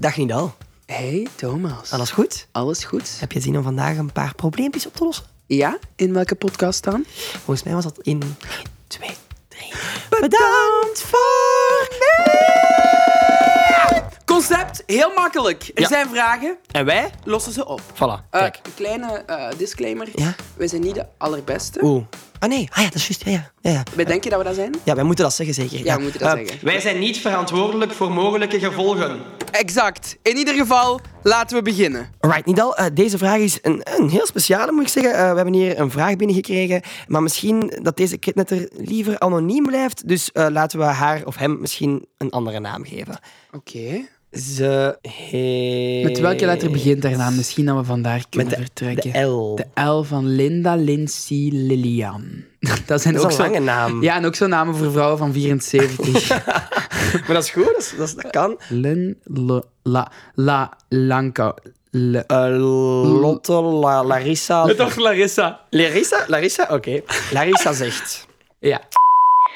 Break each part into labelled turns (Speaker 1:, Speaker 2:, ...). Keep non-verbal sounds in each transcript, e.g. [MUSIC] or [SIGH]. Speaker 1: Dag Nidal,
Speaker 2: Hey Thomas.
Speaker 1: alles goed?
Speaker 2: Alles goed?
Speaker 1: Heb je zin om vandaag een paar probleempjes op te lossen?
Speaker 2: Ja? In welke podcast dan?
Speaker 1: Volgens mij was dat in 1, 2, 3. Bedankt voor
Speaker 2: Concept, heel makkelijk. Er
Speaker 1: Ja.
Speaker 2: zijn vragen,
Speaker 1: En wij?
Speaker 2: lossen ze op.
Speaker 1: Voilà,
Speaker 2: Eh,
Speaker 1: kijk.
Speaker 2: een kleine eh, disclaimer.
Speaker 1: Ja?
Speaker 2: Wij zijn niet de allerbeste.
Speaker 1: Oeh. Ah nee, ah ja, dat is juist. Ja, ja, ja, ja.
Speaker 2: Wij denken dat we dat zijn.
Speaker 1: Ja, wij moeten dat zeggen zeker.
Speaker 2: Ja, we moeten dat
Speaker 1: Eh,
Speaker 2: zeggen.
Speaker 1: Wij zijn niet verantwoordelijk voor mogelijke gevolgen.
Speaker 2: Exact. In ieder geval, laten we beginnen.
Speaker 1: Alright, Nidal, eh, deze vraag is een, een heel speciale, moet ik zeggen. Eh, we hebben hier een vraag binnengekregen, maar misschien dat deze kidnetter liever anoniem blijft. Dus eh, laten we haar of hem misschien een andere naam geven.
Speaker 2: Oké.
Speaker 1: Ze heet...
Speaker 2: Met welke letter begint haar naam? Misschien dat we vandaar kunnen
Speaker 1: de-
Speaker 2: vertrekken.
Speaker 1: de L.
Speaker 2: De L van Linda, Lindsay, Lilian. [LAUGHS] Dat zijn
Speaker 1: Dat
Speaker 2: ook
Speaker 1: is
Speaker 2: zo-
Speaker 1: een lange naam.
Speaker 2: Ja, en ook zo'n namen voor vrouwen van 74.
Speaker 1: Maar dat is goed, dat, is- dat, is- dat kan.
Speaker 2: Len, lo, la, la, lanka, le-
Speaker 1: Eh, Lotte, La- Larissa...
Speaker 2: Toch Larissa.
Speaker 1: Larissa? Larissa? Oké. Larissa zegt...
Speaker 2: Ja.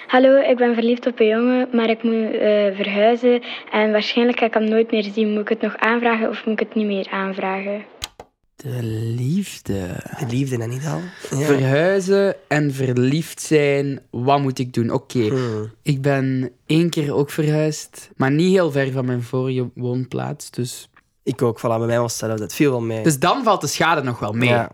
Speaker 3: Hallo, ik ben verliefd op een jongen, maar ik moet eh, verhuizen. En waarschijnlijk ga ik hem nooit meer zien. Moet ik het nog aanvragen of moet ik het niet meer aanvragen?
Speaker 2: De liefde.
Speaker 1: De liefde, hè, Nidal? Ja.
Speaker 2: Verhuizen en verliefd zijn, wat moet ik doen? Oké,
Speaker 1: Hmm.
Speaker 2: ik ben één keer ook verhuisd, maar niet heel ver van mijn vorige woonplaats. Dus,
Speaker 1: Ik ook, voilà, bij mij was hetzelfde. Het viel wel mee.
Speaker 2: dus dan valt de schade nog wel mee.
Speaker 1: Ja.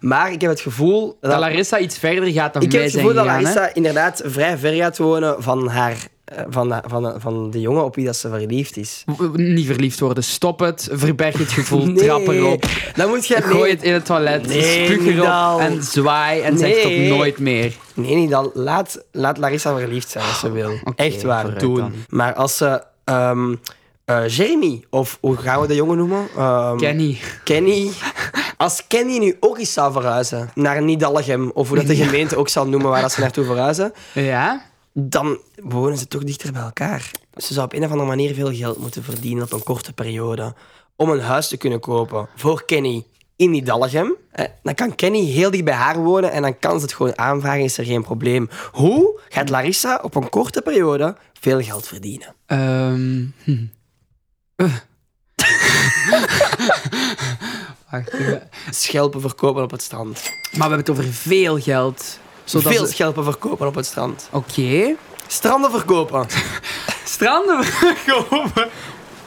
Speaker 1: Maar ik heb het gevoel...
Speaker 2: Dat Larissa iets verder gaat dan
Speaker 1: Ik
Speaker 2: mij
Speaker 1: heb het
Speaker 2: zijn
Speaker 1: gevoel dat
Speaker 2: gegaan, hè.
Speaker 1: Larissa inderdaad vrij ver gaat wonen van haar... eh, Van, van, van de jongen op wie dat ze verliefd is.
Speaker 2: W- Niet verliefd worden, stop het, verberg het gevoel, trap erop.
Speaker 1: Dan moet jij...
Speaker 2: Gooi het in het toilet,
Speaker 1: Nee,
Speaker 2: spuug erop
Speaker 1: Nidal.
Speaker 2: en zwaai en zeg
Speaker 1: Nee.
Speaker 2: tot nooit meer.
Speaker 1: Nee, niet dan. Laat, laat Larissa verliefd zijn als ze wil.
Speaker 2: Oh, oké,
Speaker 1: Echt waar,
Speaker 2: vooruit
Speaker 1: doen.
Speaker 2: dan.
Speaker 1: Maar als ze... ehm, eh, Jamie, of hoe gaan we de jongen noemen? Ehm,
Speaker 2: Kenny,
Speaker 1: Kenny. Als Kenny nu ook eens zou verhuizen naar Nidallegem, of hoe dat
Speaker 2: [LAUGHS]
Speaker 1: de gemeente ook zal noemen waar dat ze naartoe verhuizen,
Speaker 2: ja?
Speaker 1: dan wonen ze toch dichter bij elkaar. Ze zou op een of andere manier veel geld moeten verdienen op een korte periode om een huis te kunnen kopen voor Kenny in Nidallegem. Eh, Dan kan Kenny heel dicht bij haar wonen en dan kan ze het gewoon aanvragen, is er geen probleem. Hoe gaat Larissa op een korte periode veel geld verdienen?
Speaker 2: Ehm hm. [LAUGHS] Eh. Wacht, eh,
Speaker 1: Schelpen verkopen op het strand.
Speaker 2: maar we hebben het over veel geld. Zodat
Speaker 1: veel
Speaker 2: ze-
Speaker 1: schelpen verkopen op het strand.
Speaker 2: Oké.
Speaker 1: Stranden verkopen.
Speaker 2: Stranden [LAUGHS] verkopen.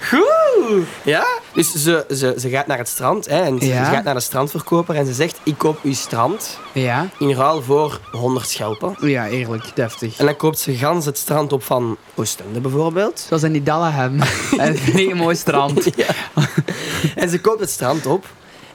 Speaker 1: Goed. Ja, dus ze, ze, ze gaat naar het strand hè, en ze,
Speaker 2: Ja.
Speaker 1: ze gaat naar de strandverkoper en ze zegt: Ik koop uw strand
Speaker 2: Ja.
Speaker 1: in ruil voor 100 schelpen.
Speaker 2: Ja, eerlijk, deftig.
Speaker 1: En dan koopt ze gans het strand op van Oostende
Speaker 2: [LAUGHS]
Speaker 1: bijvoorbeeld.
Speaker 2: Zoals in die Dallahem. en nee, een mooi strand.
Speaker 1: [LAUGHS] En ze koopt het strand op.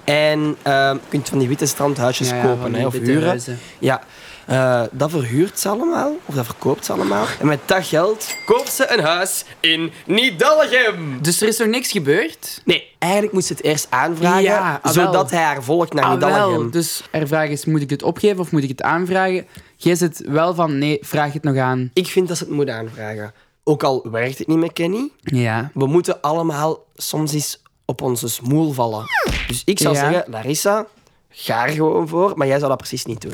Speaker 1: En ehm, je kunt van die witte strandhuisjes
Speaker 2: Ja, ja, van
Speaker 1: kopen
Speaker 2: die
Speaker 1: hè, of
Speaker 2: witte
Speaker 1: huren.
Speaker 2: huizen.
Speaker 1: Ja, eh, dat verhuurt ze allemaal, of dat verkoopt ze allemaal. En met dat geld koopt ze een huis in Nidallegem.
Speaker 2: Dus er is nog niks gebeurd?
Speaker 1: Nee, eigenlijk moest ze het eerst aanvragen,
Speaker 2: Ja, ah, wel.
Speaker 1: zodat hij haar volgt naar
Speaker 2: Ah,
Speaker 1: Nidallegem.
Speaker 2: wel. Dus er vraag is, moet ik het opgeven of moet ik het aanvragen? Jij zit wel van, nee, vraag het nog aan.
Speaker 1: Ik vind dat ze het moeten aanvragen. Ook al werkt het niet met Kenny,
Speaker 2: Ja.
Speaker 1: we moeten allemaal soms eens op onze smoel vallen. Dus ik zou
Speaker 2: Ja.
Speaker 1: zeggen, Larissa, ga er gewoon voor, maar jij zou dat precies niet doen.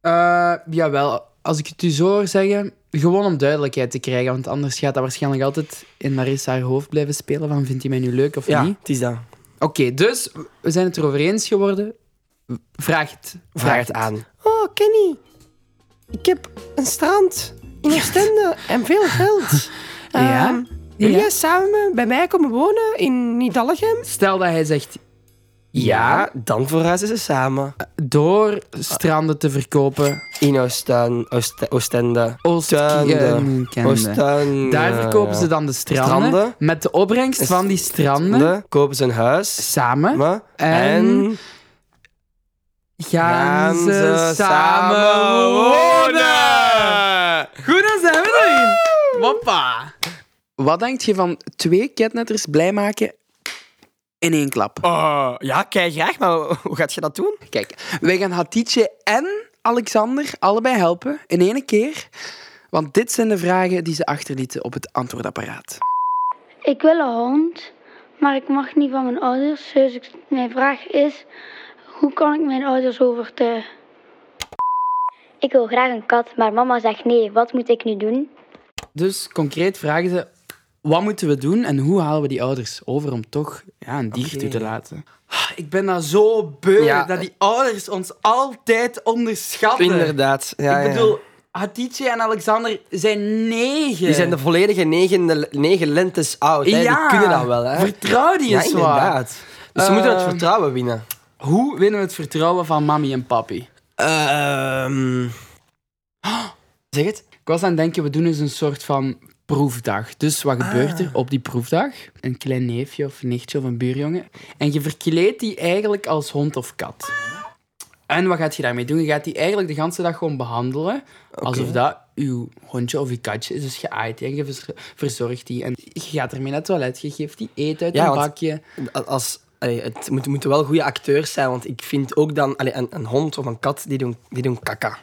Speaker 2: Eh, jawel, als ik het u zo hoor zeggen, gewoon om duidelijkheid te krijgen. Want anders gaat dat waarschijnlijk altijd in Larissa haar hoofd blijven spelen van vindt hij mij nu leuk of niet.
Speaker 1: het is dat.
Speaker 2: Oké, dus we zijn het erover eens geworden. Vraag het.
Speaker 1: Vraag het aan. Oh, Kenny, ik heb een strand in [LAUGHS] Oostende en veel geld.
Speaker 2: Ja?
Speaker 1: Ehm, wil
Speaker 2: Ja.
Speaker 1: jij samen bij mij komen wonen in Nidallegem?
Speaker 2: Stel dat hij zegt
Speaker 1: Ja, dan verhuizen ze samen.
Speaker 2: door stranden te verkopen,
Speaker 1: In Oosten, Oost, Oostende.
Speaker 2: Oostende.
Speaker 1: Oostende.
Speaker 2: Daar verkopen ze dan de stranden,
Speaker 1: Stranden.
Speaker 2: met de opbrengst
Speaker 1: Is-
Speaker 2: van die stranden
Speaker 1: Dan kopen ze een huis.
Speaker 2: samen.
Speaker 1: Maar,
Speaker 2: En-
Speaker 1: en
Speaker 2: Gaan, ze samen wonen? Goed, dan zijn we erin. Woppa. Wat denk je van twee catnetters blij maken in één klap?
Speaker 1: Oh, ja, kijk graag, maar hoe gaat je dat doen?
Speaker 2: Kijk, wij gaan Hatice en Alexander allebei helpen in één keer. Want dit zijn de vragen die ze achterlieten op het antwoordapparaat.
Speaker 3: Ik wil een hond, maar ik mag niet van mijn ouders. Dus ik- mijn vraag is, hoe kan ik mijn ouders overtuigen? Ik wil graag een kat, maar mama zegt nee. Wat moet ik nu doen?
Speaker 2: Dus concreet vragen ze: Wat moeten we doen en hoe halen we die ouders over om toch ja, een dier
Speaker 1: Oké.
Speaker 2: toe te laten? eh, Ah, Ik ben daar zo beu
Speaker 1: Ja.
Speaker 2: dat die ouders ons altijd onderschatten.
Speaker 1: Inderdaad. Ja,
Speaker 2: ik
Speaker 1: ja.
Speaker 2: bedoel, Hatice en Alexander zijn negen.
Speaker 1: Die zijn de volledige negen, negen lentes oud. Hè?
Speaker 2: Ja.
Speaker 1: Die kunnen dat wel, hè?
Speaker 2: Vertrouw die
Speaker 1: ja,
Speaker 2: eens wat.
Speaker 1: inderdaad. Dus ze moeten het
Speaker 2: Ehm.
Speaker 1: vertrouwen winnen.
Speaker 2: Hoe winnen we het vertrouwen van mami en papi?
Speaker 1: Ehm. Zeg het?
Speaker 2: Ik was aan het denken, we doen eens een soort van proefdag. Dus wat
Speaker 1: Ah.
Speaker 2: gebeurt er op die proefdag? Een klein neefje of nichtje of een buurjongen. En je verkleedt die eigenlijk als hond of kat. En wat gaat je daarmee doen? Je gaat die eigenlijk de hele dag gewoon behandelen. Alsof dat uw hondje of uw katje is. Dus je aait die en je vers- verzorgt die. En je gaat ermee naar het toilet. Je geeft die eten uit
Speaker 1: Ja,
Speaker 2: een
Speaker 1: want-
Speaker 2: bakje.
Speaker 1: Als, allee, het moet, moeten wel goede acteurs zijn, want ik vind ook dan allee, een, een hond of een kat die doen, die doen kaka.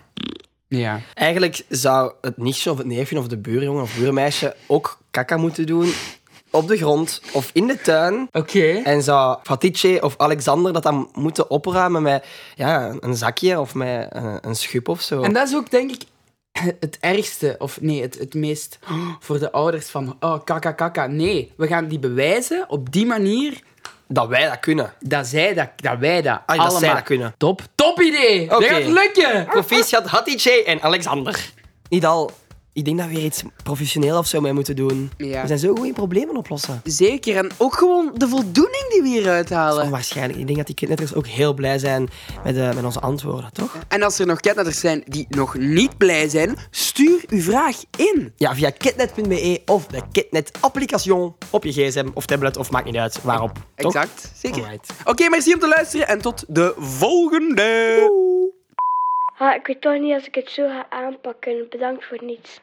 Speaker 2: Ja.
Speaker 1: Eigenlijk zou het nichtje of het neefje of de buurjongen of buurmeisje ook kaka moeten doen op de grond of in de tuin.
Speaker 2: Oké.
Speaker 1: En zou Fatice of Alexander dat dan moeten opruimen met ja, een zakje of met eh, een, een schub of zo?
Speaker 2: En dat is ook, denk ik, het ergste. Of nee, het, het meest voor de ouders van... Oh, kaka, kaka. Nee, we gaan die bewijzen op die manier
Speaker 1: Dat wij dat kunnen.
Speaker 2: dat zij dat, dat wij dat
Speaker 1: Ah,
Speaker 2: allemaal...
Speaker 1: dat zij dat kunnen.
Speaker 2: Top. Top idee. Dat
Speaker 1: Oké.
Speaker 2: gaat lukken.
Speaker 1: Proficiat Hatice en Alexander. Niet al, ik denk dat we hier iets professioneel of zo mee moeten doen.
Speaker 2: Ja.
Speaker 1: We zijn zo goed in problemen oplossen.
Speaker 2: Zeker. En ook gewoon de voldoening die we hier uithalen.
Speaker 1: Onwaarschijnlijk. Ik denk dat die kinderen ook heel blij zijn met, eh, met onze antwoorden, toch?
Speaker 2: En als er nog catnatters zijn die nog niet blij zijn, stuur uw vraag in.
Speaker 1: Ja, via kitnet.be of de Kitnet-application op je gsm of tablet of maakt niet uit waarop. toch?
Speaker 2: Exact. Zeker.
Speaker 1: Alright.
Speaker 2: Oké, merci om te luisteren en tot de volgende.
Speaker 3: Ah, ik weet toch niet als ik het zo ga aanpakken. Bedankt voor niets.